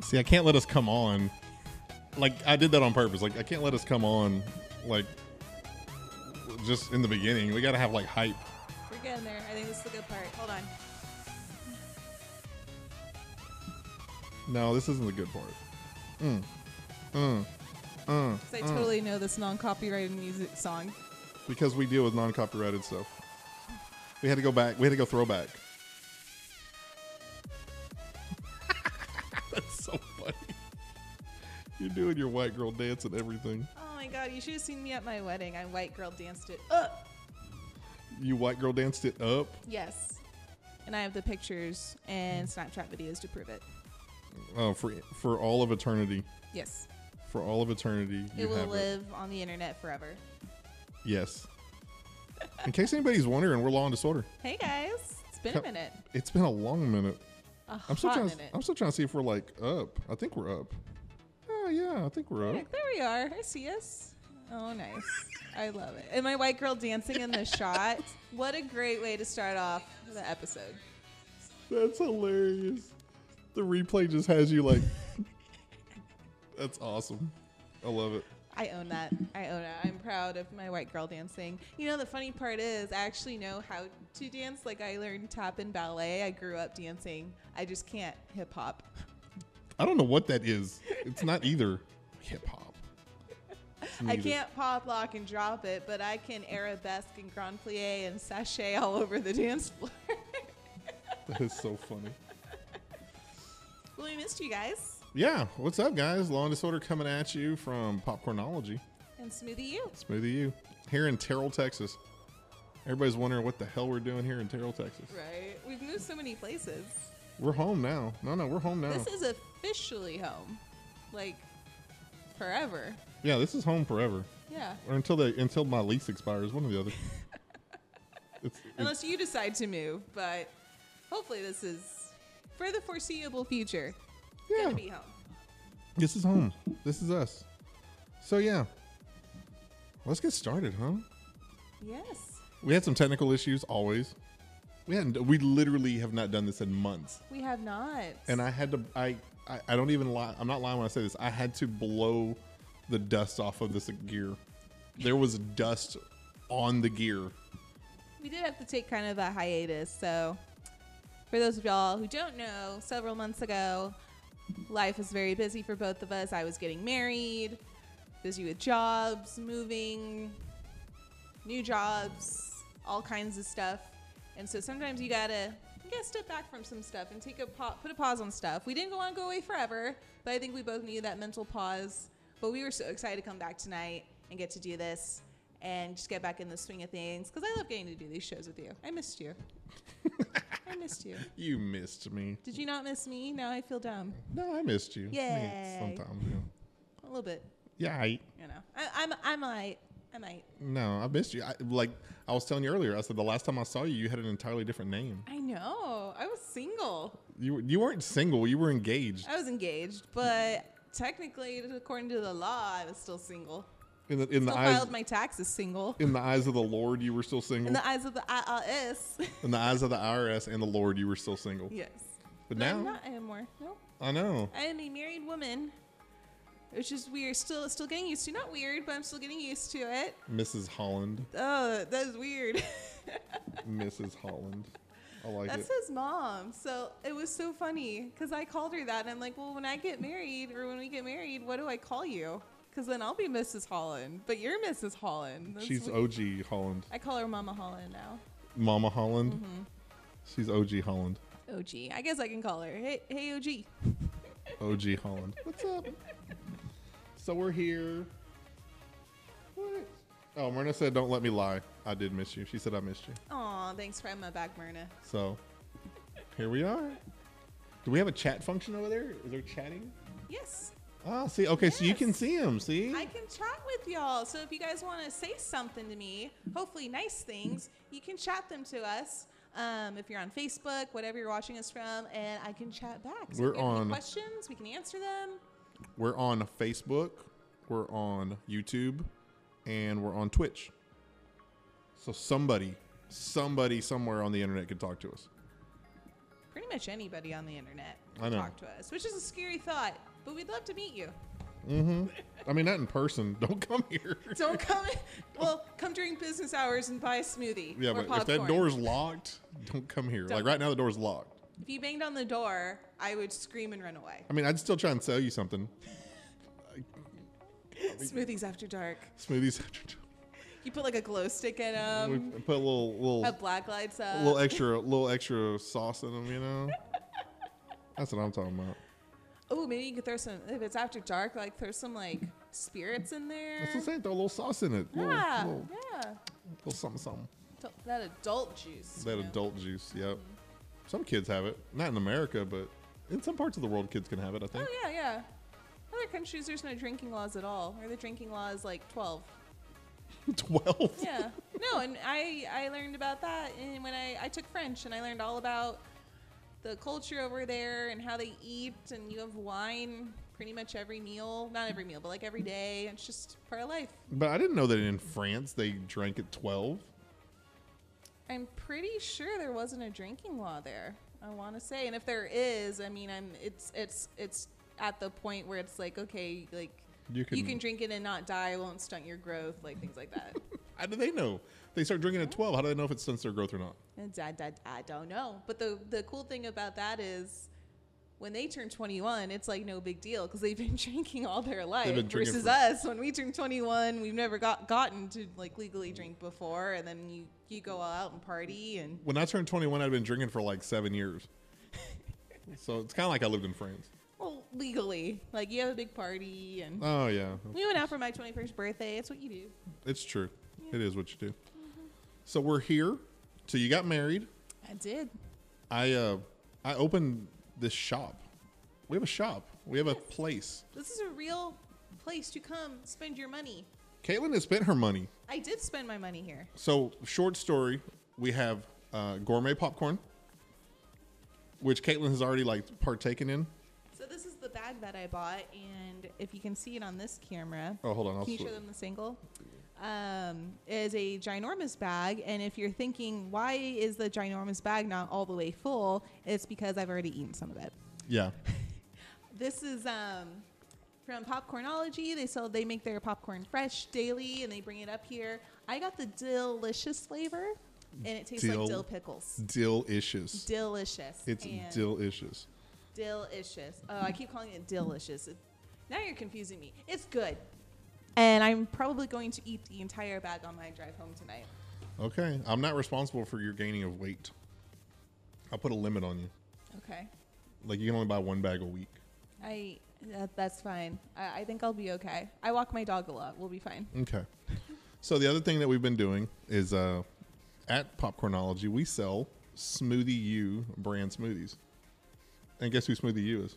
See, I can't let us come on. Like I did that on purpose. Like I can't let us come on. Like just in the beginning, we gotta have like hype. We're getting there. I think this is the good part. Hold on. No, this isn't the good part. Mm. Mm. Mm. Because I totally know this non copyrighted music song. Because we deal with non-copyrighted stuff. We had to go back. We had to go throwback. That's so funny. You're doing your white girl dance and everything. Oh my god, you should have seen me at my wedding. I white girl danced it up. You white girl danced it up. Yes. And I have the pictures and Snapchat videos to prove it. Oh, for for all of eternity. Yes. For all of eternity, you it will have it. live on the internet forever. Yes. In case anybody's wondering, we're law and disorder. Hey guys, it's been a Come- minute. It's been a long minute. A I'm still hot trying. minute. I'm still trying to see if we're like up. I think we're up. Oh yeah, I think we're up. Look, there we are. I see us. Oh, nice. I love it. And my white girl dancing in the shot. What a great way to start off the episode. That's hilarious. The replay just has you like. That's awesome. I love it. I own that. I own it. I'm proud of my white girl dancing. You know, the funny part is I actually know how to dance. Like, I learned tap and ballet. I grew up dancing. I just can't hip hop. I don't know what that is. It's not either hip hop. It's I neither. can't pop, lock, and drop it, but I can arabesque and grand plie and sachet all over the dance floor. That is so funny. well, we missed you guys. Yeah. What's up, guys? Law and Disorder coming at you from Popcornology. And smoothie you. Smoothie U here in Terrell, Texas. Everybody's wondering what the hell we're doing here in Terrell, Texas. Right. We've moved so many places. We're home now. No, no, we're home now. This is officially home. Like forever. yeah, this is home forever, Yeah. or until they until my lease expires, one or the other. it's, it's, Unless you decide to move, but hopefully this is for the foreseeable future. yeah, Gonna be home. this is home. This is us. So yeah, let's get started, huh? Yes. We had some technical issues always. We hadn't. We literally have not done this in months. We have not. and I had to I, I I don't even lie. I'm not lying when I say this. I had to blow the dust off of this gear. There was dust on the gear. we did have to take kind of a hiatus, so for those of y'all who don't know, several months ago, life was very busy for both of us. I was getting married, busy with jobs, moving, new jobs, all kinds of stuff. And so sometimes you gotta you gotta step back from some stuff and take a pa- put a pause on stuff. We didn't go on go away forever, but I think we both needed that mental pause. But we were so excited to come back tonight and get to do this and just get back in the swing of things because I love getting to do these shows with you. I missed you. I missed you. You missed me. Did you not miss me? Now I feel dumb. No, I missed you. Yay. Sometimes. Yeah. A little bit, Yeah, I you know. I, I'm I might I might. no, I missed you. I, like I was telling you earlier, I said the last time I saw you, you had an entirely different name. I know. I was single. You were- you weren't single. You were engaged. I was engaged, but technically, according to the law, I was still single. In the in the Still eyes filed my taxes single. in the eyes of the Lord, you were still In single. the eyes of the IRS. In the eyes of the IRS and the Lord, you were still single. yes. But No, I'm now not anymore. No, I know. I am a married woman, which is weird. Still, still getting used to. Not weird, but I'm still getting used to it. Mrs. Holland. Oh, that is weird. Mrs. Holland. I like That's it. his mom. So it was so funny because I called her that, and I'm like, well, when I get married or when we get married, what do I call you? Because then I'll be Mrs. Holland, but you're Mrs. Holland. That's She's weird. OG Holland. I call her Mama Holland now. Mama Holland. Mm-hmm. She's OG Holland. OG. I guess I can call her. Hey, hey, OG. OG Holland. What's up? So we're here. What? Oh, Myrna said, "Don't let me lie. I did miss you." She said, "I missed you." Aw, thanks for having my back, Myrna. So here we are. Do we have a chat function over there? Is there chatting? Yes, Ah, see. Okay, so you Yes. can see him. See. I can chat with y'all. So if you guys want to say something to me, hopefully nice things, you can chat them to us. Um, if you're on Facebook, whatever you're watching us from, and I can chat back. So if We're you have any on- questions. We can answer them. we're on Facebook. We're on YouTube, and we're on Twitch. So somebody, somebody somewhere on the internet could talk to us. Pretty much anybody on the internet I to know. talk to us, which is a scary thought. But we'd love to meet you. I mean, not in person. Don't come here. Don't come. well, come during business hours and buy a smoothie. Yeah, or but if popcorn. that door's locked, don't come here. Like Don't. right now, the door's locked. If you banged on the door, I would scream and run away. I mean, I'd still try and sell you something. Smoothies after dark. Smoothies after You put like a glow stick in them. we put a little little Have black lights up. little extra little extra sauce in them, you know. That's what I'm talking about. Oh, maybe you could throw some. If it's after dark, like throw some like spirits in there. That's what I'm saying. Throw a little sauce in it. Little, yeah, little, yeah. little something something. Adult- That adult juice. That you know. adult juice. Yep. Some kids have it. Not in America, but in some parts of the world, kids can have it. I think. Oh yeah, yeah. Other countries, there's no drinking laws at all, or the drinking law is like 12. Oh, Twelve. Yeah. no, and I I learned about that in, when I I took French, and I learned all about the culture over there and how they eat, and you have wine pretty much every meal. Not every meal, but like every day. It's just part of life. But I didn't know that in France they drank at twelve. I'm pretty sure there wasn't a drinking law there. I want to say, and if there is, I mean, I'm it's it's it's at the point where it's like, okay, like You can- drink it and not die, it won't stunt your growth, like things like that. How do they know? They start drinking at twelve. How do they know if it stunts their growth or not? and I, I, I don't know, but the the cool thing about that is. When they turn 21, it's like no big deal because they've been drinking all their life. been drinking versus for- us, when we turn 21, we've never got gotten to like Mm. legally drink before, and then you you go out and party and When I turned twenty-one, I'd been drinking for like seven years. so it's kind of like I lived in France. Well, legally, like you have a big party, and Oh yeah, we went out for my 21st birthday. It's what you do. it's true. It is what you do. So we're here. So you got married. I did. I uh, I opened this shop. We have a shop. We have a place. This is a real place to come spend your money. Caitlin has spent her money. I did spend my money here. So short story, we have uh, gourmet popcorn, which Caitlin has already like partaken in. So this is the bag that I bought, and if you can see it on this camera, Oh, hold on. I'll can you flip- show them the single? Um, is a ginormous bag, and if you're thinking why is the ginormous bag not all the way full, it's because I've already eaten some of it. Yeah. This is um, from Popcornology. They sell, they make their popcorn fresh daily, and they bring it up here. I got the delicious flavor, and it tastes Dill- like dill pickles. Delicious. Delicious. It's and delicious. Delicious. Oh, I keep calling it delicious. It- now you're confusing me. It's good, and I'm probably going to eat the entire bag on my drive home tonight. Okay. I'm not responsible for your gaining of weight. I'll put a limit on you. Okay. Like you can only buy one bag a week. I. That, that's fine. I, I think I'll be okay. I walk my dog a lot. We'll be fine. Okay. So the other thing that we've been doing is uh, at Popcornology we sell Smoothie U brand smoothies. And guess who Smoothie U is?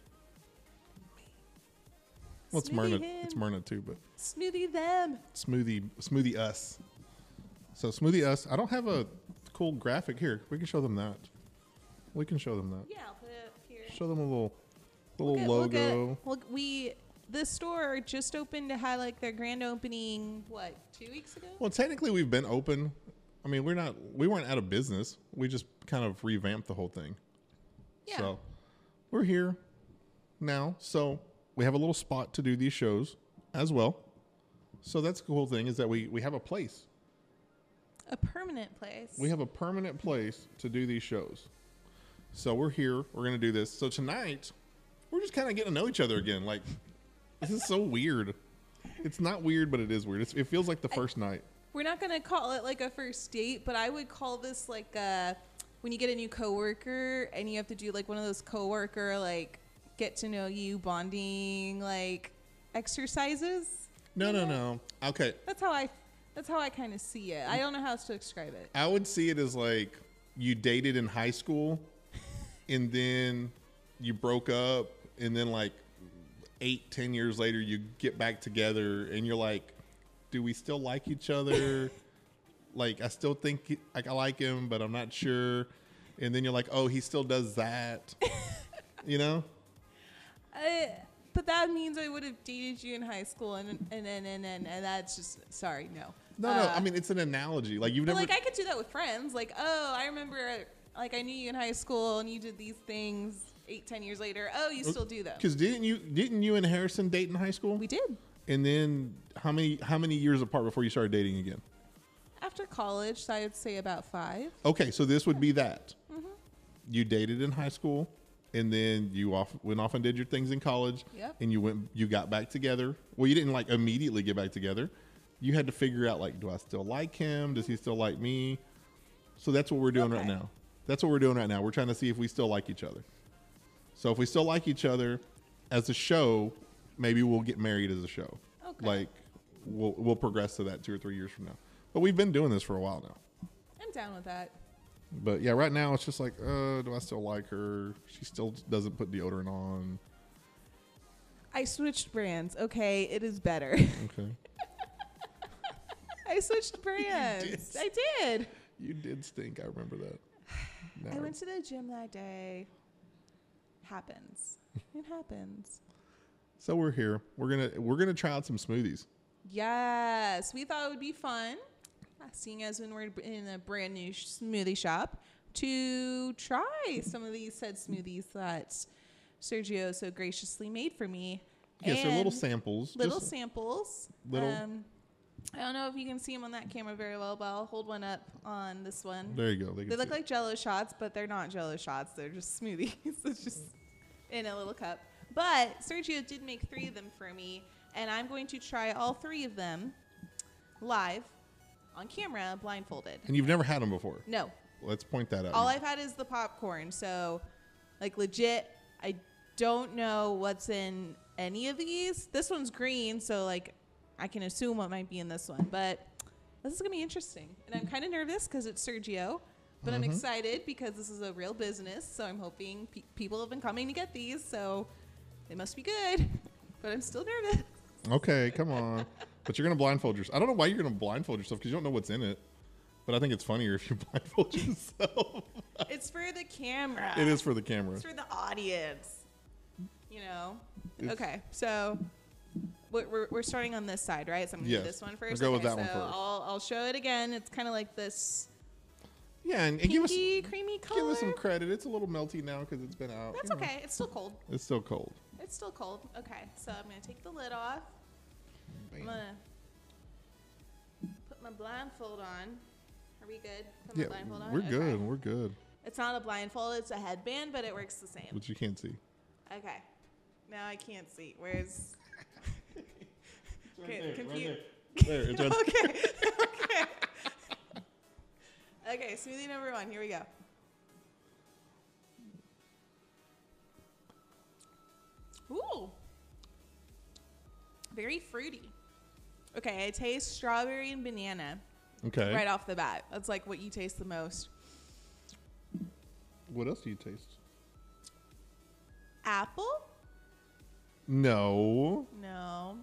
Well, it's Smoothie Myrna. him. It's Myrna too, but Smoothie them. Smoothie Smoothie Us. So Smoothie Us. I don't have a cool graphic here. We can show them that. We can show them that. Yeah, I'll put it up here. Show them a little, a little Look at- logo. Look, at, look, we the store just opened to have like their grand opening. What two weeks ago? Well, technically, we've been open. I mean, we're not. We weren't out of business. We just kind of revamped the whole thing. Yeah. So we're here now. So we have a little spot to do these shows as well. So that's the cool thing is that we we have a place. A permanent place. We have a permanent place to do these shows. So we're here. We're gonna do this. So tonight, we're just kind of getting to know each other again. Like this is so weird. It's not weird, but it is weird. It's, it feels like the first night. We're not gonna call it like a first date, but I would call this like a when you get a new coworker and you have to do like one of those coworker like get to know you bonding like exercises. No, no, no. Okay, That's how I. That's how I kind of see it. I don't know how else to describe it. I would see it as like you dated in high school and then you broke up and then like eight, ten years later you get back together and you're like, Do we still like each other? like I still think he- like I like him, but I'm not sure. And then you're like, Oh, he still does that. you know? I, Uh, but that means I would have dated you in high school, and and and and and, and that's just sorry, no. No, no. Uh, I mean, it's an analogy. Like you've but never. like I could do that with friends. Like, oh, I remember like I knew you in high school and you did these things eight, ten years later. Oh, you still do them. Because didn't you didn't you and Harrison date in high school? We did. And then how many how many years apart before you started dating again? After college, so I'd say about five. Okay, so this would be that. Mm-hmm. You dated in high school, and then you off went off and did your things in college, Yep. and you went you got back together. Well, you didn't like immediately get back together. You had to figure out like, do I still like him? Does he still like me? So that's what we're doing right Okay. now. That's what we're doing right now. We're trying to see if we still like each other. So if we still like each other as a show, maybe we'll get married as a show. Okay. Like we'll we'll progress to that two or three years from now. But we've been doing this for a while now. I'm down with that. But yeah, right now it's just like, uh, do I still like her? She still doesn't put deodorant on. I switched brands. Okay, it is better. Okay. I switched brands. I did. You did stink. I remember that. I Now- went to the gym that day. Happens. It happens. so we're here. We're gonna we're gonna try out some smoothies. Yes, we thought it would be fun, uh, seeing as when we're in a brand new sh- smoothie shop, to try some of these said smoothies that Sergio so graciously made for me. Yes, they're little And samples. little just- samples. little- Um, I don't know if you can see them on that camera very well, but I'll hold one up on this one. There you go. can They look see it. like jello shots, but they're not jello shots. They're just smoothies. it's just in a little cup. But Sergio did make three of them for me, and I'm going to try all three of them live on camera, blindfolded. And you've never had them before. No, Let's point that out. all I've had is the popcorn. So, like, legit, I don't know what's in any of these. This one's green, so, like, I can assume what might be in this one. But this is going to be interesting. And I'm kind of nervous because it's Sergio. But I'm excited because this is a real business. So I'm hoping pe- people have been coming to get these. So they must be good. But I'm still nervous. okay, come on. But you're gonna blindfold yourself. I don't know why you're gonna blindfold yourself because you don't know what's in it. But I think it's funnier if you blindfold yourself. it's for the camera. it is for the camera. It's for the audience. You know? It's- okay, so we're, we're, we're starting on this side, right? So I'm going to Yes. do this one first. We'll go with okay, that one so first. I'll, I'll show it again. It's kind of like this Yeah, and, and give us pinky, creamy color. give us some credit. It's a little melty now because it's been out. That's you know. okay. It's still cold. It's still cold. It's still cold. Okay, so I'm going to take the lid off. I'm Bam. going to put my blindfold on. Are we good? Put my Yeah, blindfold on? we're Okay. good. We're good. It's not a blindfold, it's a headband, but it works the same. But you can't see. Okay. Now I can't see. Where's. Okay, Right compute. there. There, it's right- okay. okay. Okay, smoothie number one. Here we go. Ooh. Very fruity. Okay, I taste strawberry and banana okay. right off the bat. That's like what you taste the most. What else do you taste? Apple? No. No.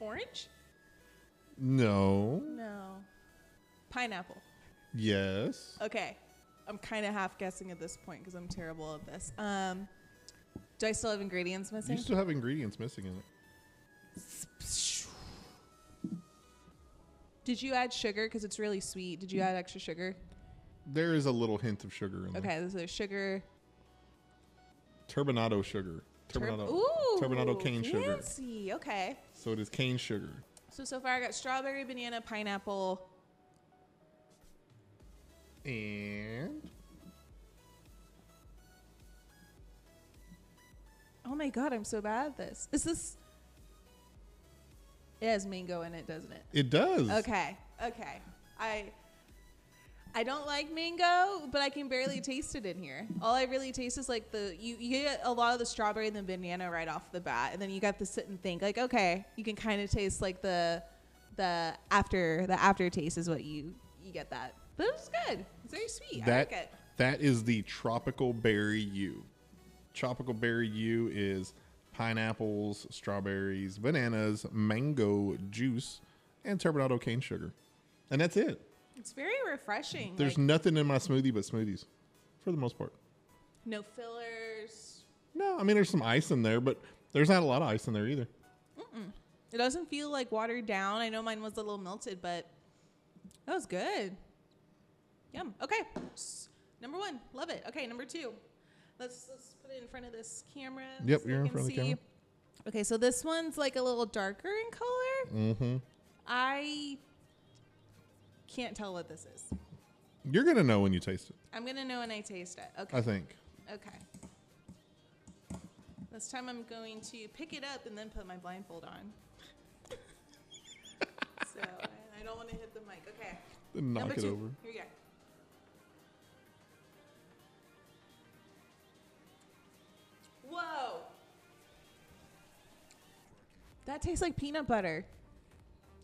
Orange? No. No. Pineapple. Yes. Okay. I'm kind of half guessing at this point because I'm terrible at this. Um, do I still have ingredients You missing? still have ingredients missing in it. Did you add sugar? Because it's really sweet. Did you add extra sugar? Mm-hmm. There is a little hint of sugar in there. Okay, so there's sugar. Turbinado sugar. Tur- Turbinado. Ooh, turbinado cane sugar. fancy. Okay. So it is cane sugar. So so far I got strawberry, banana, pineapple. And Oh my god, I'm so bad at this. Is this? It has mango in it, doesn't it? it does. Okay, okay. I I don't like mango, but I can barely taste it in here. All I really taste is like the you, you get a lot of the strawberry and the banana right off the bat, and then you got to sit and think. Like, okay, you can kind of taste like the the after the aftertaste is what you you get that. But it was good. It's very sweet. That I like it. that is the tropical berry U. Tropical berry U is pineapples, strawberries, bananas, mango juice, and turbinado cane sugar. And that's it. It's very refreshing. There's like, nothing in my smoothie but smoothies, for the most part. no fillers. No, I mean there's some ice in there, but there's not a lot of ice in there either. It doesn't feel like watered down. I know mine was a little melted, but that was good. Yum. Okay. S- Number one, love it. Okay, number two. Let's let's put it in front of this camera. Yep, so you're I in can front of the see. camera. Okay, so this one's like a little darker in color. Mm-hmm. I can't tell what this is. You're gonna know when you taste it. I'm gonna know when I taste it. Okay. I think. Okay. This time I'm going to pick it up and then put my blindfold on. so I, I don't want to hit the mic. Okay. Then knock Number it two. over. Here we go. Whoa. That tastes like peanut butter.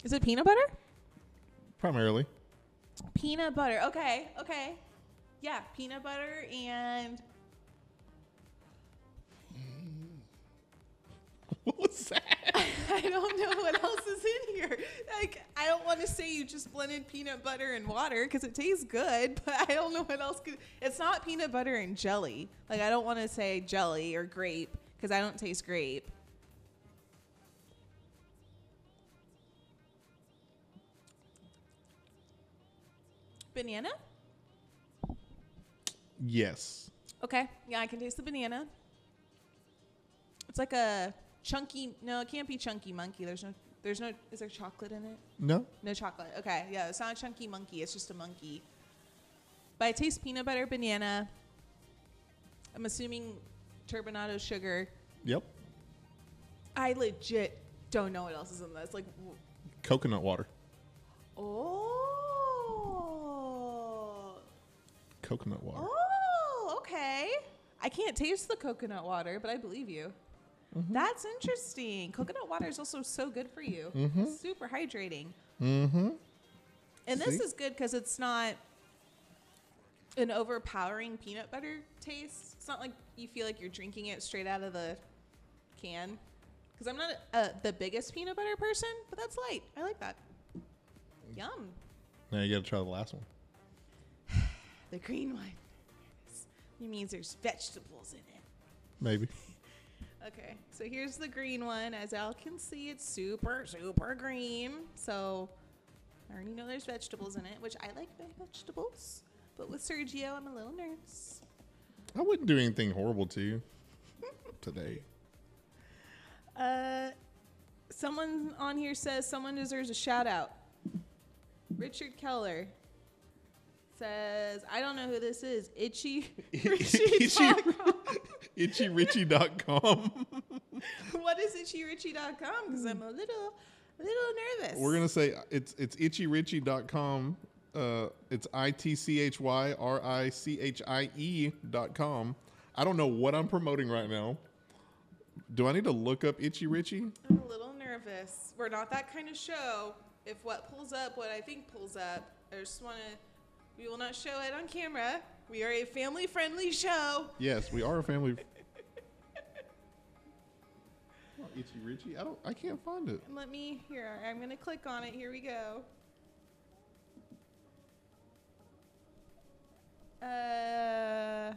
Is it peanut butter? Primarily. Peanut butter. Okay. Okay. Yeah, peanut butter and What was that? I don't know what else is in here. Like, I don't want to say you just blended peanut butter and water because it tastes good, but I don't know what else could. It's not peanut butter and jelly. Like, I don't want to say jelly or grape because I don't taste grape. Banana? Yes. Okay. Yeah, I can taste the banana. It's like a chunky. No, it can't be chunky monkey. There's no. There's no. Is there chocolate in it? No. No chocolate. Okay. Yeah, it's not a chunky monkey. It's just a monkey. But I taste peanut butter, banana. I'm assuming turbinado sugar. Yep. I legit don't know what else is in this. Like, w- Coconut water. oh. Coconut water. Oh, okay. I can't taste the coconut water, but I believe you. That's interesting. Coconut water is also so good for you. Super hydrating. Mm-hmm. And this See? is good because it's not an overpowering peanut butter taste. It's not like you feel like you're drinking it straight out of the can. Because I'm not uh, the biggest peanut butter person, but that's light. I like that. Yum. Now you gotta try the last one. The green one. It means there's vegetables in it. Maybe. Okay, so here's the green one. As y'all can see, it's super, super green. So I already know there's vegetables in it, which I like ve- vegetables. But with Sergio, I'm a little nervous. I wouldn't do anything horrible to you today. Uh, someone on here says someone deserves a shout out. Richard Keller says, I don't know who this is. Itchy. Richie. Itchy- Taco." ItchyRitchie.com. what is itchyritchie.com? Because I'm a little, little nervous. We're gonna say it's it's itchyritchie.com. Uh, it's i t c h y r i c h i e dot com. I don't know what I'm promoting right now. Do I need to look up Itchy Richie? I'm a little nervous. We're not that kind of show. If what pulls up, what I think pulls up, I just want to. We will not show it on camera. We are a family friendly show. Yes, we are a family. Not Itchy Richie. I don't. I can't find it. And let me, here, I'm going to click on it. Here we go. Uh,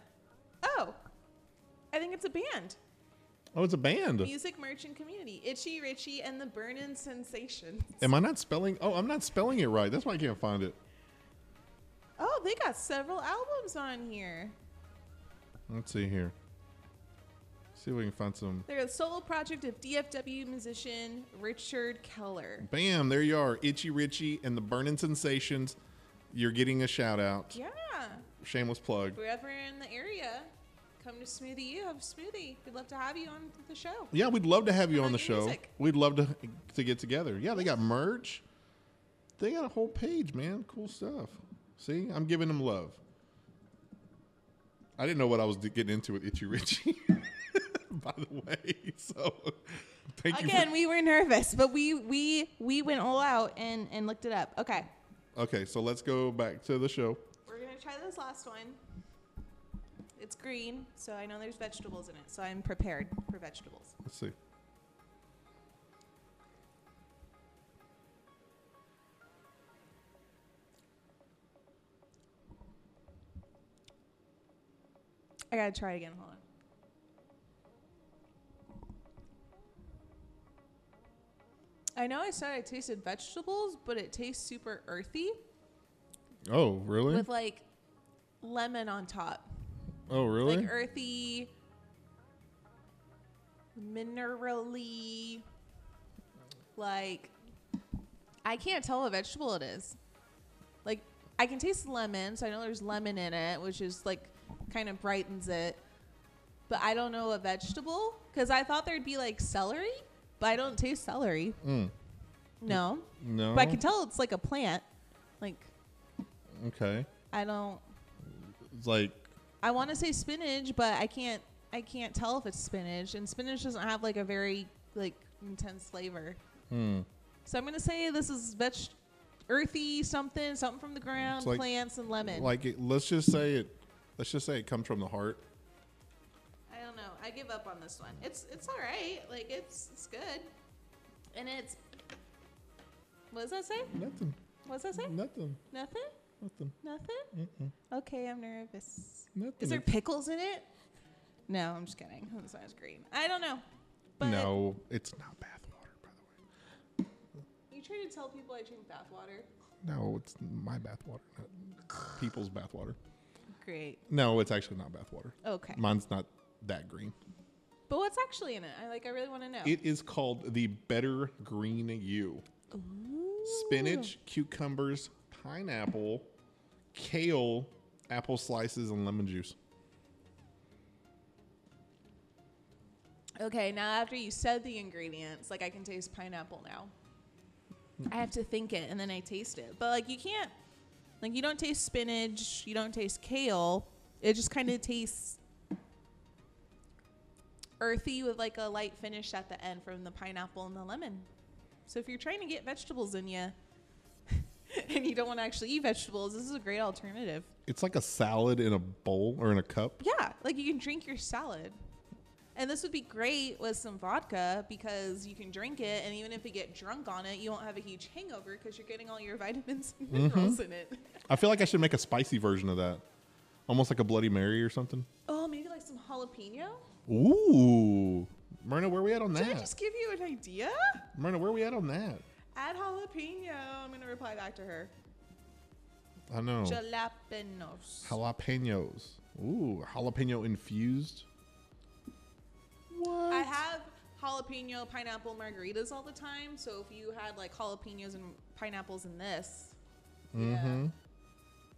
oh, I think it's a band. Oh, it's a band. Music, merch, and community. Itchy Richie and the Burnin' Sensations. Am I not spelling? Oh, I'm not spelling it right. That's why I can't find it. Oh, they got several albums on here. Let's see here. See if we can find some. They're a solo project of DFW musician Richard Keller. Bam! There you are, Itchy Richie and the Burning Sensations. You're getting a shout out. Yeah. Shameless plug. If we're ever in the area, come to Smoothie U, have a smoothie. We'd love to have you on the show. Yeah, we'd love to have you How on the about your show. music? We'd love to to get together. Yeah, they got merch. They got a whole page, man. Cool stuff. See, I'm giving them love. I didn't know what I was getting into with Itchy Richie, by the way. So, thank you. Again, we were nervous, but we we we went all out and and looked it up. Okay. For, okay, so let's go back to the show. We're going to try this last one. It's green, so I know there's vegetables in it, so I'm prepared for vegetables. Let's see. I got to try again. Hold on. I know I said I tasted vegetables, but it tastes super earthy Oh, really? with like lemon on top. oh, really? Like earthy, minerally, like I can't tell what vegetable it is. Like I can taste lemon, so I know there's lemon in it, which is like kind of brightens it. But I don't know a vegetable because I thought there'd be like celery, but I don't taste celery. Mm. No, no. but I can tell it's like a plant. Like okay. I don't. It's like I want to say spinach, but I can't. I can't tell if it's spinach, and spinach doesn't have like a very like intense flavor. hmm. So I'm gonna say this is veg, earthy something, something from the ground, like- plants and lemon. Like it, let's just say it. Let's just say it comes from the heart. I don't know. I give up on this one. It's it's all right. Like it's it's good, and it's. What does that say? Nothing. What does that say? Nothing. Nothing. Nothing. Nothing. Mm-mm. Okay, I'm nervous. Nothing. Is there pickles in it? No, I'm just kidding. That sounds green. I don't know. But no, it's not bathwater, by the You try to tell people I drink bathwater. way. No, it's my bathwater, not people's bathwater. Great. No, it's actually not bathwater. Okay. Mine's not that green. But what's actually in it? I like. I really want to know. It is called the Better Green You. Spinach, cucumbers, pineapple, kale, apple slices, and lemon juice. Okay. Now after you said the ingredients, like I can taste pineapple now. I have to think it and then I taste it. But like you can't. Like you don't taste spinach. You don't taste kale. It just kind of tastes earthy with like a light finish at the end from the pineapple and the lemon. So if you're trying to get vegetables in you. and you don't want to actually eat vegetables. This is a great alternative. It's like a salad in a bowl or in a cup. Yeah, like you can drink your salad. And this would be great with some vodka because you can drink it, and even if you get drunk on it, you won't have a huge hangover because you're getting all your vitamins and minerals in it. I feel like I should make a spicy version of that, almost like a Bloody Mary or something. Oh, maybe like some jalapeno? Ooh, Myrna, where we at on Did I that? just give you an idea? Myrna, where we at on that? Add jalapeno. I'm going to reply back to her. I know. Jalapenos. Jalapenos. Ooh, jalapeno infused. What? I have jalapeno pineapple margaritas all the time, so if you had like jalapenos and pineapples in this, mm-hmm. Yeah.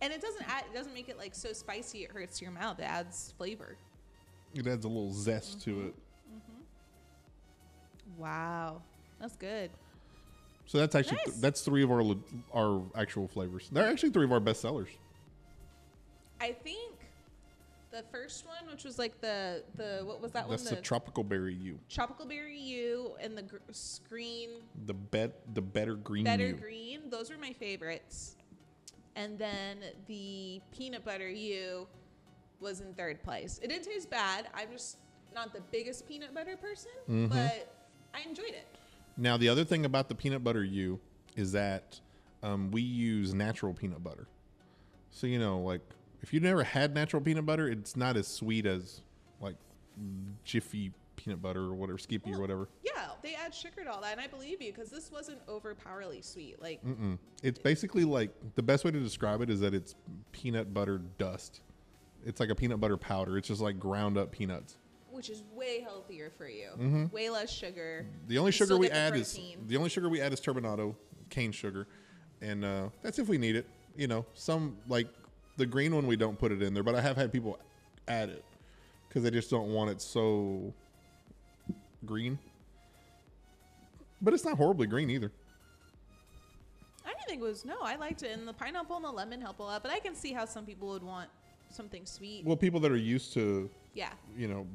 And it doesn't add, it doesn't make it like so spicy it hurts your mouth. It adds flavor. It adds a little zest to it. Wow. That's good. So that's actually Nice. that's three of our le- our actual flavors. They're actually three of our best sellers. I think the first one, which was like the the what was that that's one? the tropical berry you. tropical berry you and the gr- s- green The bet the better green better you. green. Those were my favorites. And then the peanut butter you was in third place. It didn't taste bad. I'm just not the biggest peanut butter person, Mm-hmm. but I enjoyed it. Now the other thing about the peanut butter you is that um, we use natural peanut butter. So you know, like if you never had natural peanut butter, it's not as sweet as like Jiffy peanut butter or whatever, Skippy or Well, whatever. Yeah, they add sugar to all that, and I believe you because this wasn't overpowerly sweet. Like, Mm-mm. Mm. It's basically like the best way to describe it is that it's peanut butter dust. It's like a peanut butter powder. It's just like ground up peanuts. which is way healthier for you, Mm-hmm. way less sugar. The only You sugar still we get the add is protein. the only sugar we add is turbinado, cane sugar, and uh, that's if we need it. You know, some like the green one we don't put it in there, but I have had people add it because they just don't want it so green. But it's not horribly green either. I didn't think it was no. I liked it, and the pineapple and the lemon help a lot. But I can see how some people would want something sweet. Well, people that are used to yeah, you know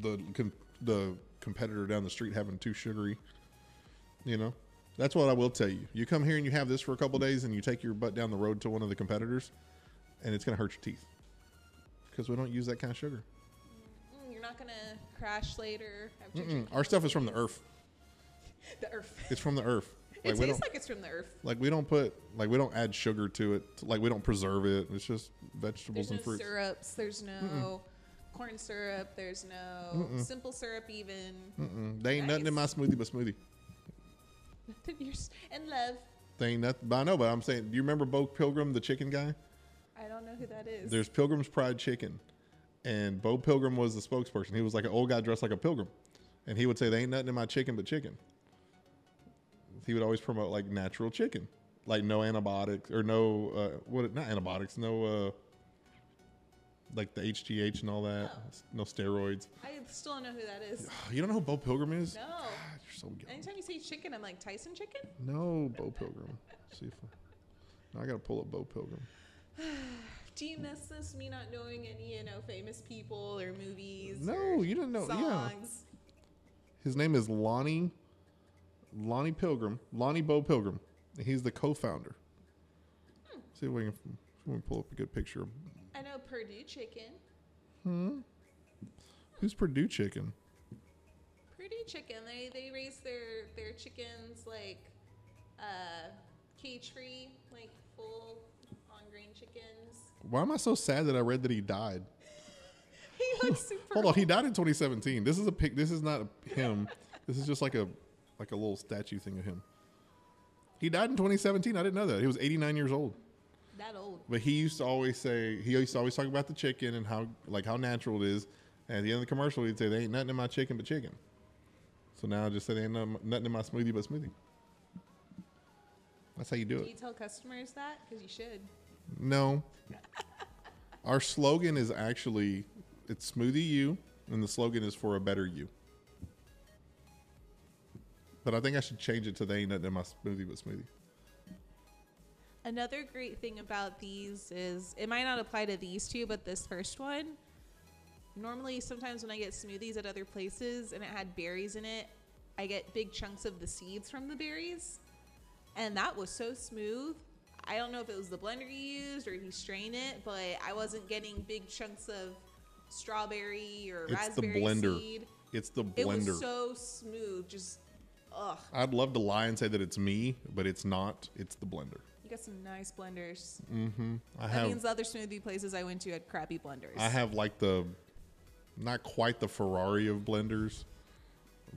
the com- the competitor down the street having too sugary. You know, that's what I will tell you. You come here and you have this for a couple days, and you take your butt down the road to one of the competitors, and it's going to hurt your teeth because we don't use that kind of sugar. Mm, you're not gonna crash later. Have ginger- Mm-mm. Our stuff is from the earth. The earth. It's from the earth. It we tastes don't like it's from the earth. like we don't put like we don't add sugar to it. Like we don't preserve it. It's just vegetables There's no and fruits. syrups. There's no corn syrup. There's no simple syrup even. Mm-mm. They ain't nothing in my smoothie but smoothie. You're s- and love. Thing that I know, but I'm saying, do you remember Bo Pilgrim, the chicken guy? I don't know who that is. There's Pilgrim's Pride Chicken, and Bo Pilgrim was the spokesperson. He was like an old guy dressed like a pilgrim, and he would say, "There ain't nothing in my chicken but chicken." He would always promote like natural chicken, like no antibiotics or no uh, what? Not antibiotics, no uh, like the HGH and all that, no steroids. I still don't know who that is. You don't know who Bo Pilgrim is? No. God, you're so young. Anytime you say chicken, I'm like Tyson chicken. No, Bo Pilgrim. See if now I gotta pull up Bo Pilgrim. Do you miss this? Me not knowing any, you know, famous people or movies. No, or you didn't know. Yeah, Songs. his name is Lonnie. Lonnie Pilgrim. Lonnie Bo Pilgrim. And He's the co-founder. See if we can, see if we can pull up a good picture. of- I know Purdue chicken. Who's Purdue Chicken? Purdue chicken. They they raise their their chickens like uh, cage free, like full on grain chickens. Why am I so sad that I read that he died? He looks super. Hold on, he died in 2017. This is a pic. This is not him. this is just like a like a little statue thing of him. He died in 2017. I didn't know that. He was 89 years old. that old. But he used to always say he used to always talk about the chicken and how like how natural it is. And at the end of the commercial, he'd say, "There ain't nothing in my chicken but chicken." So now I just say, "There ain't nothing nothing in my smoothie but smoothie." That's how you do Do you it. tell customers that? Because you should. No, our slogan is actually it's smoothie you, and the slogan is for a better you. But I think I should change it to "There ain't nothing in my smoothie but smoothie." Another great thing about these is it might not apply to these two, but this first one. Normally, sometimes when I get smoothies at other places and it had berries in it, I get big chunks of the seeds from the berries. And that was so smooth. I don't know if it was the blender he used or he strained it, but I wasn't getting big chunks of strawberry or It's the raspberry blender. seed. It's the blender. It was so smooth. Just, ugh. I'd love to lie and say that it's me, but it's not. It's the blender. You got some nice blenders. I That have means the other smoothie places I went to had crappy blenders. I have like the not quite the Ferrari of blenders,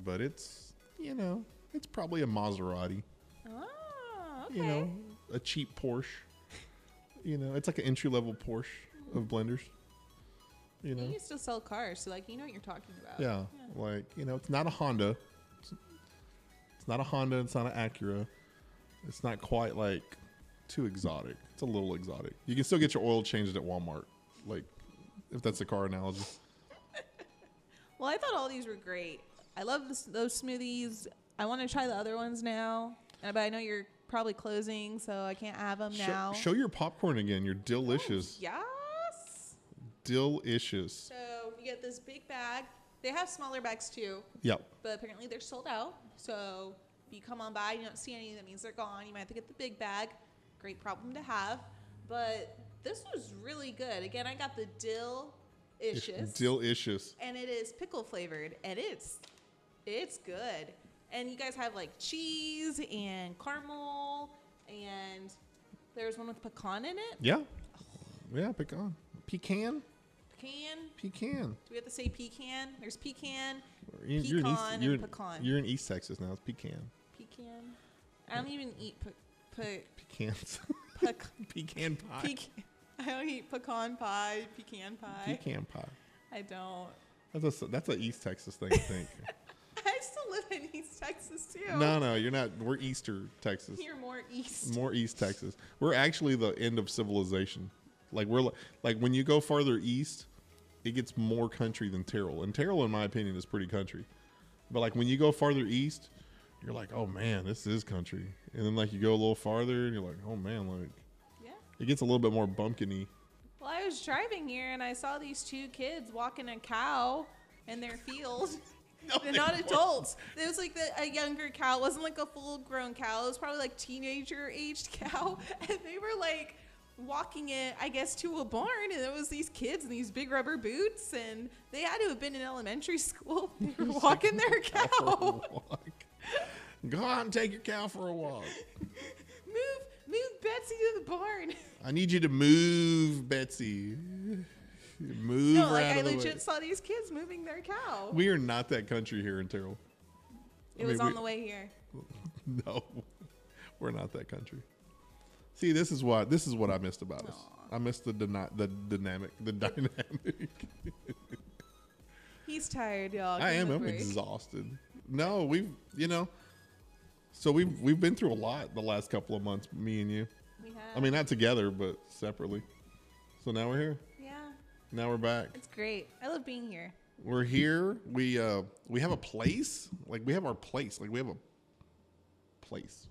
but it's you know, it's probably a Maserati, Oh, okay. you know, a cheap Porsche. You know, it's like an entry level Porsche of blenders. You You know. used to sell cars, so like you know what you're talking about. Yeah. Like, you know, it's not a Honda. It's- It's not a Honda, it's not an Acura. It's not quite like too exotic. It's a little exotic. You can still get your oil changed at Walmart. Like if that's a car analogy. Well, I thought all these were great. I love this, those smoothies. I want to try the other ones now, uh, but I know you're probably closing, so I can't have them Show- now. Oh, Show, your popcorn again. You're delicious. Yes. Delicious. So you get this big bag. They have smaller bags too, Yep. but apparently they're sold out. So if you come on by, you don't see any, that means they're gone. You might have to get the big bag. Great problem to have. But this was really good. Again, I got the dill ishes. Delicious. and it is pickle flavored and it's it's good and you guys have like cheese and caramel and there's one with pecan in it Yeah. Yeah, pecan. Pecan? pecan Pecan. do we have to say pecan there's pecan You- pecan in and you're in- pecan You're in East Texas now. It's pecan. pecan i don't even eat pe- Pecans. pe- pec- pecan pie. pecan i don't eat pecan pie pecan pie Pecan pie. i don't That's a that's an East Texas thing, I think. i still live in east texas too no, no, you're not. We're Easter Texas. here more east More East Texas. We're actually the end of civilization. Like we're li- like when you go farther east, it gets more country than Terrell. And Terrell, in my opinion, is pretty country. But like when you go farther east, you're like, oh man, this is country. And then like you go a little farther, and you're like, oh man, like yeah it gets a little bit more bumpkiny. Well, I was driving here and I saw these two kids walking a cow in their field. They're they not weren't. adults. It was like the, a younger cow. It wasn't like a full grown cow. It was probably like teenager aged cow. And they were like walking it, I guess, to a barn. And it was these kids in these big rubber boots. And they had to have been in elementary school. They were walking their cow. Walk. Go on, take your cow for a walk. move, move Betsy to the barn. I need you to move, Betsy. Move. No, her like out I of the way. legit saw these kids moving their cow. We are not that country here in Terrell. it I was mean, on we- the way here. no, we're not that country. See, this is what this is what I missed about us. I Aw. missed the dyna- the dynamic, the dynamic. He's tired, y'all. Give I him am. a I'm break. exhausted. No, we've you know. So we've we've been through a lot the last couple of months, me and you. We have, I mean, not together, but separately. So now we're here. yeah, Now we're back. it's great. I love being here. We're here. We uh we have a place. Like we have our place. Like we have a place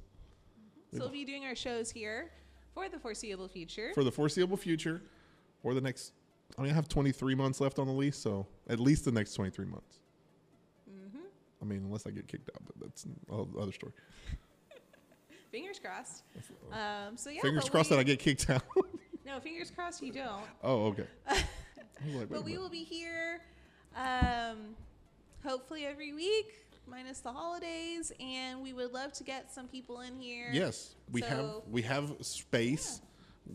So we'll be doing our shows here for the foreseeable future. for the foreseeable future, or the next. I mean, I have 23 months left on the lease, so at least the next 23 months. Mm-hmm. I mean, unless I get kicked out, but that's another story. fingers crossed. Um, so yeah, Fingers but crossed we, that I get kicked out. No, fingers crossed you don't. oh, okay. I was like, wait a But we minute. will be here, um, hopefully every week, minus the holidays, and we would love to get some people in here. Yes, we have So- we have space.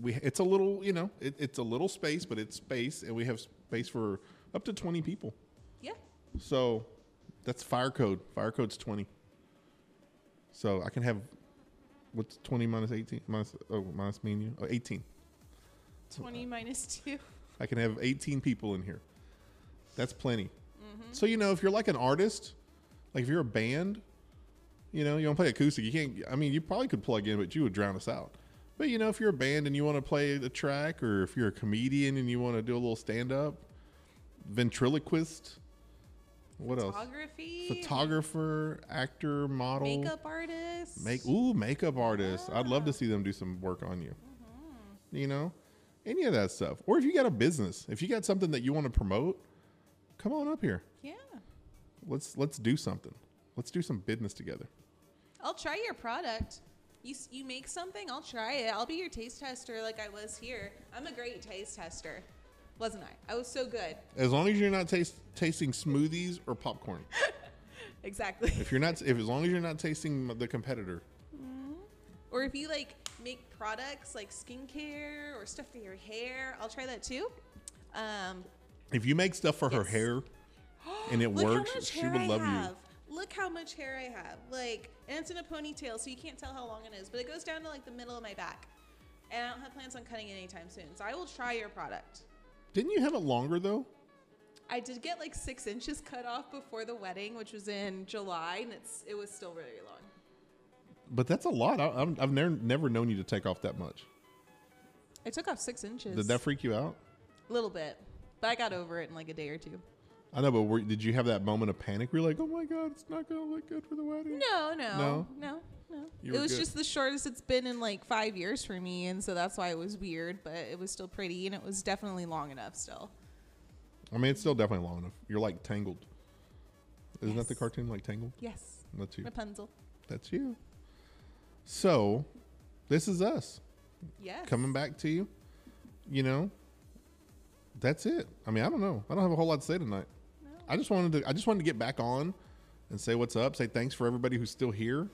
We it's a little you know it, it's a little space, but it's space, and we have space for up to 20 people. Yeah. So that's fire code. Fire code's 20. So I can have what's 20 minus 18 minus oh minus me and you oh 18. Twenty minus two. I can have 18 people in here. That's plenty. So you know, if you're like an artist, like if you're a band, you know, you want to play acoustic, you can't. I mean, you probably could plug in, but you would drown us out. But you know, if you're a band and you want to play a track, or if you're a comedian and you want to do a little stand up, ventriloquist, what else? Photography. Photographer, actor, model, Makeup Ah. artists. Make ooh, makeup artists. I'd love to see them do some work on you. Mm-hmm. You know, any of that stuff. Or if you got a business, if you got something that you want to promote, come on up here. Yeah. Let's let's do something. Let's do some business together. I'll try your product. You, s- you make something, I'll try it. I'll be your taste tester like I was here. I'm a great taste tester. Wasn't I? I was so good. As long as you're not taste, tasting smoothies or popcorn. Exactly. If you're not, if as long as you're not tasting the competitor, or if you like make products like skincare or stuff for your hair, I'll try that too. Um, if you make stuff for her Yes. hair, and it look works, how much she hair would I love you. have. Look how much hair I have. Like, and it's in a ponytail, so you can't tell how long it is, but it goes down to like the middle of my back. And I don't have plans on cutting it anytime soon. So I will try your product. didn't you have it longer though? I did get like six inches cut off before the wedding, which was in July, and it's it was still really long. But that's a lot. I, I'm, I've never never known you to take off that much. I took off six inches. Did that freak you out? a little bit, but I got over it in like a day or two. I know, but were, did you have that moment of panic? Where you're like, "Oh my god, it's not gonna look good for the wedding." No, no, No? no, no. You it were was good. just the shortest it's been in like five years for me, and so that's why it was weird, but it was still pretty, and it was definitely long enough still. I mean, it's still definitely long enough. You're like tangled. Isn't that the Yes. cartoon like Tangled? Yes, That's you. Rapunzel. That's you. So, this is us Yes. coming back to you. You know, that's it. I mean, I don't know. I don't have a whole lot to say tonight. No. I just wanted to. I just wanted to get back on and say what's up. Say thanks for everybody who's still here.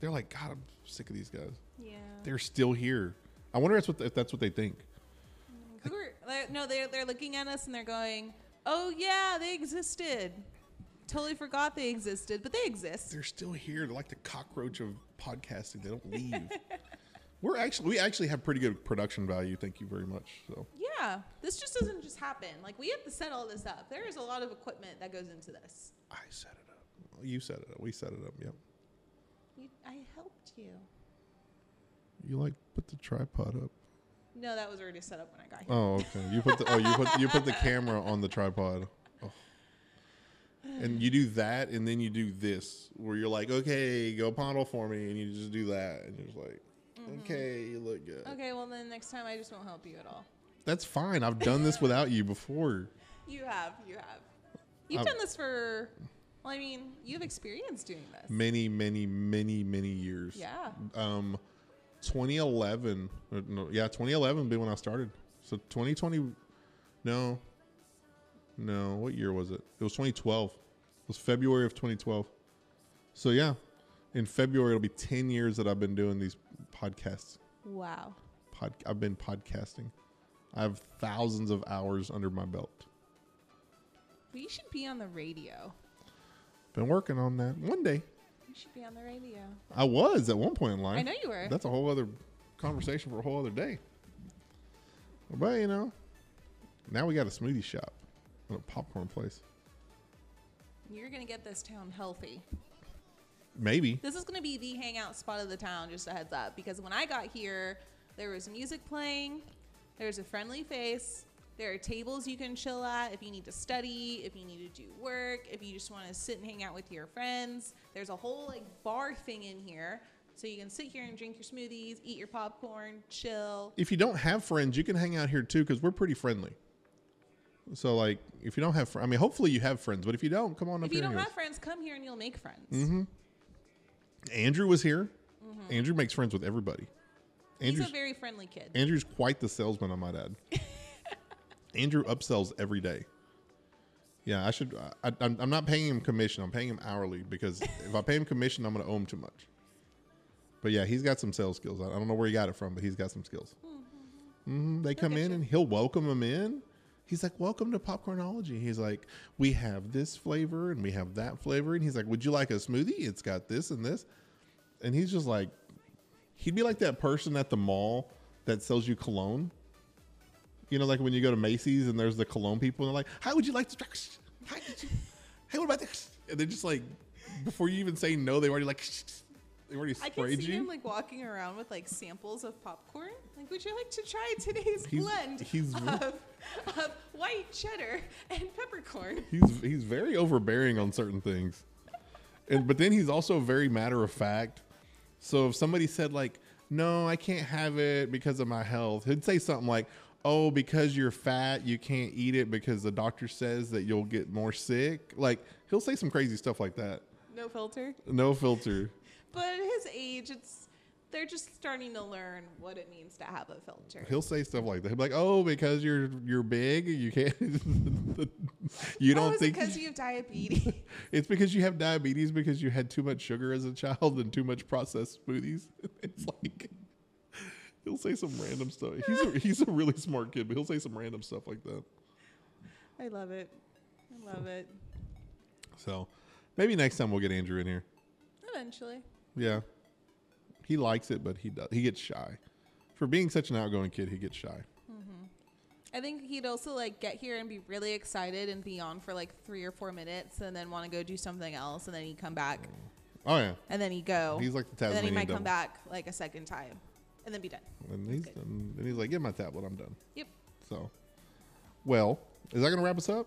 They're like, God, I'm sick of these guys. Yeah. They're still here. I wonder if that's what- if that's what they think. Who are, they're, no, they're they're looking at us and they're going, "Oh yeah, they existed. Totally forgot they existed, but they exist." they're still here. They're like the cockroach of podcasting. They don't leave. We're actually we actually have pretty good production value. Thank you very much. So Yeah, this just doesn't just happen. Like we have to set all this up. There is a lot of equipment that goes into this. I set it up. Well, You set it up. We set it up. Yep. You, I helped you. You like put the tripod up. No, that was already set up when I got here. Oh, okay. You put the oh you put you put the camera on the tripod. Oh. And you do that, and then you do this, where you're like, okay, go paddle for me, and you just do that, and you're just like, okay, you look good. Mm-hmm. Okay, well then next time I just won't help you at all. That's fine. I've done this without you before. You have, you have. You've I've- done this for well, I mean, you have experience doing this. many, many, many, many years. Yeah. Um, 2011. uh, No, yeah, 2011 would be when I started. So 2020. No. No. What year was it? It was 2012. It was February of 2012. So yeah, in February it'll be 10 years that I've been doing these podcasts. Wow. Pod, I've been podcasting. I have thousands of hours under my belt. Well, you should be on the radio. Been working on that. One day, You should be on the radio. I was at one point in life. I know you were. That's a whole other conversation for a whole other day. But you know, now we got a smoothie shop and a popcorn place. You're gonna get this town healthy. Maybe. This is gonna be the hangout spot of the town. Just a heads up, because when I got here, there was music playing. There was a friendly face. There are tables you can chill at if you need to study, if you need to do work, if you just want to sit and hang out with your friends. There's a whole like bar thing in here, so you can sit here and drink your smoothies, eat your popcorn, chill. If you don't have friends, you can hang out here too because we're pretty friendly. So like, if you don't have, fr- I mean, hopefully you have friends. But if you don't, come on up If here. Mm-hmm. you and hang with don't have us. friends, come here and you'll make friends. Andrew was here. Andrew makes friends with everybody. Mm-hmm. He's Andrew's a very friendly kid. Andrew's quite the salesman, I might add. Andrew upsells every day. Yeah, I should. I, I'm, I'm not paying him commission. I'm paying him hourly because if I pay him commission, I'm going to owe him too much. But yeah, he's got some sales skills. I I don't know where he got it from, but he's got some skills. hmm They come at in Mm-hmm. you. and he'll welcome them in. He's like, "Welcome to Popcornology." He's like, "We have this flavor and we have that flavor," and he's like, "Would you like a smoothie? It's got this and this." And he's just like, he'd be like that person at the mall that sells you cologne. You know, like when you go to Macy's and there's the cologne people and they're like, "How would you like to?" How did you, hey, what about this? And they're just like, before you even say no, they already like, they already I can sprayed see you. him like walking around with like samples of popcorn. Like, would you like to try today's He's- blend he's- of, of white cheddar and peppercorn? he's he's very overbearing on certain things, and but then he's also very matter of fact. So if somebody said like, "No, I can't have it because of my health," he'd say something like, "Oh, because you're fat, you can't eat it because the doctor says that you'll get more sick." Like he'll say some crazy stuff like that. No filter. No filter. But at his age, it's they're just starting to learn what it means to have a filter. He'll say stuff like that. He'll be like, "Oh, because you're you're big, you can't. you oh, don't is think it because you have diabetes? It's because you have diabetes because you had too much sugar as a child and too much processed smoothies. It's like he'll say some random stuff. He's a, he's a really smart kid, but he'll say some random stuff like that. I love it. I love it. So maybe next time we'll get Andrew in here. Eventually. Yeah, he likes it, but he does. He gets shy. For being such an outgoing kid, he gets shy. I think he'd also like get here and be really excited and be on for like three or four minutes and then want to go do something else and then he'd come back Oh yeah, and then he'd go. he's like the and Tasmanian then he might devil. come back like a second time and then be done. And he's Good. done. and he's like, "Get my tablet, I'm done." Yep. So, well, is that gonna wrap us up?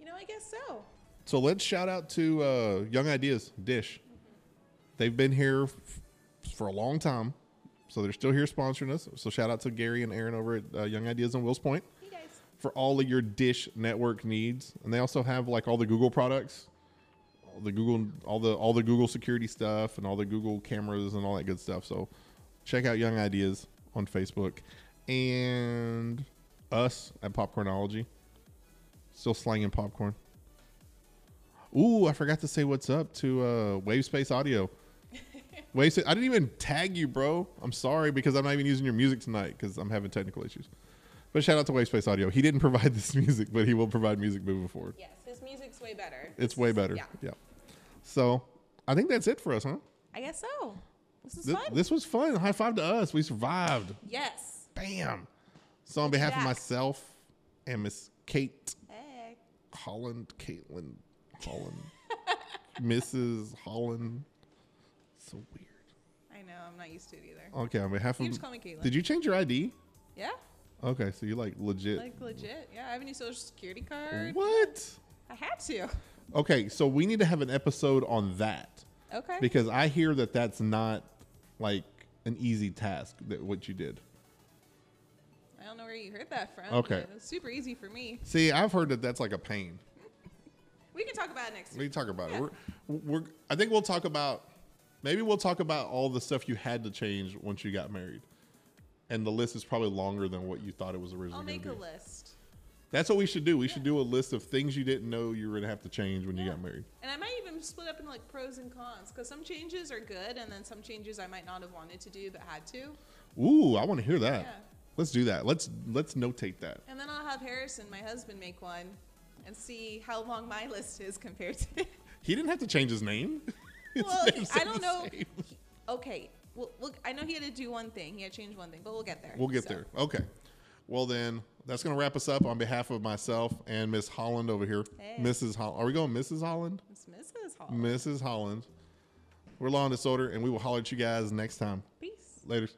You know, I guess so. So let's shout out to uh, Young Ideas Dish. They've been here f- for a long time, so they're still here sponsoring us. So shout out to Gary and Aaron over at uh, Young Ideas on Wills Point Hey guys. for all of your Dish network needs, and they also have like all the Google products, all the Google, all the all the Google security stuff, and all the Google cameras and all that good stuff. So check out Young Ideas on Facebook and us at Popcornology. Still slanging popcorn. Ooh, I forgot to say what's up to uh, Wavespace Audio. Wavespace, I didn't even tag you, bro. I'm sorry because I'm not even using your music tonight because I'm having technical issues. But shout out to Wavespace Audio. He didn't provide this music, but he will provide music moving forward. Yes, his music's way better. It's way better. Yeah. So I think that's it for us, huh? I guess so. This is This, fun. this was fun. High five to us. We survived. yes. Bam. So on behalf of Jack. myself and Miss Kate Hey. Holland, Caitlin Holland, Mrs. Holland. So weird. I know. I'm not used to it either. Okay, on behalf You of. just call me Caitlin. Did you change your ID? yeah. Okay, so you like legit. Like legit. Yeah. I have a new social security card. what? I had to. Okay, so we need to have an episode on that Okay. because I hear that that's not like an easy task that what you did. I don't know where you heard that from. Okay. but It's super easy for me. See, I've heard that that's like a pain. We can talk about it next We week. can talk about Yeah. it. We're, we're. I think we'll talk about. Maybe we'll talk about all the stuff you had to change once you got married, and the list is probably longer than what you thought it was originally. I'll gonna make a be. list. That's what we should do. We should do a list of things you didn't know you were gonna have to change when you got married. And I might even split up into like pros and cons because some changes are good and then some changes I might not have wanted to do but had to. Ooh, I want to hear that. Yeah. Let's do that. Let's let's notate that. And then I'll have Harrison, my husband, make one and see how long my list is compared to. He didn't have to change his name. His Well, name's I don't know. the same. He- okay. Well, look, I know he had to do one thing. He had to change one thing, but we'll get there. We'll get So, there. Okay. Well then, that's gonna wrap us up on behalf of myself and Miss Holland over here. Hey. Mrs. Holland. Are we going Mrs. Holland? It's Mrs. Hall. Mrs. Holland. We're Law and Disorder, and we will holler at you guys next time. Peace. Later.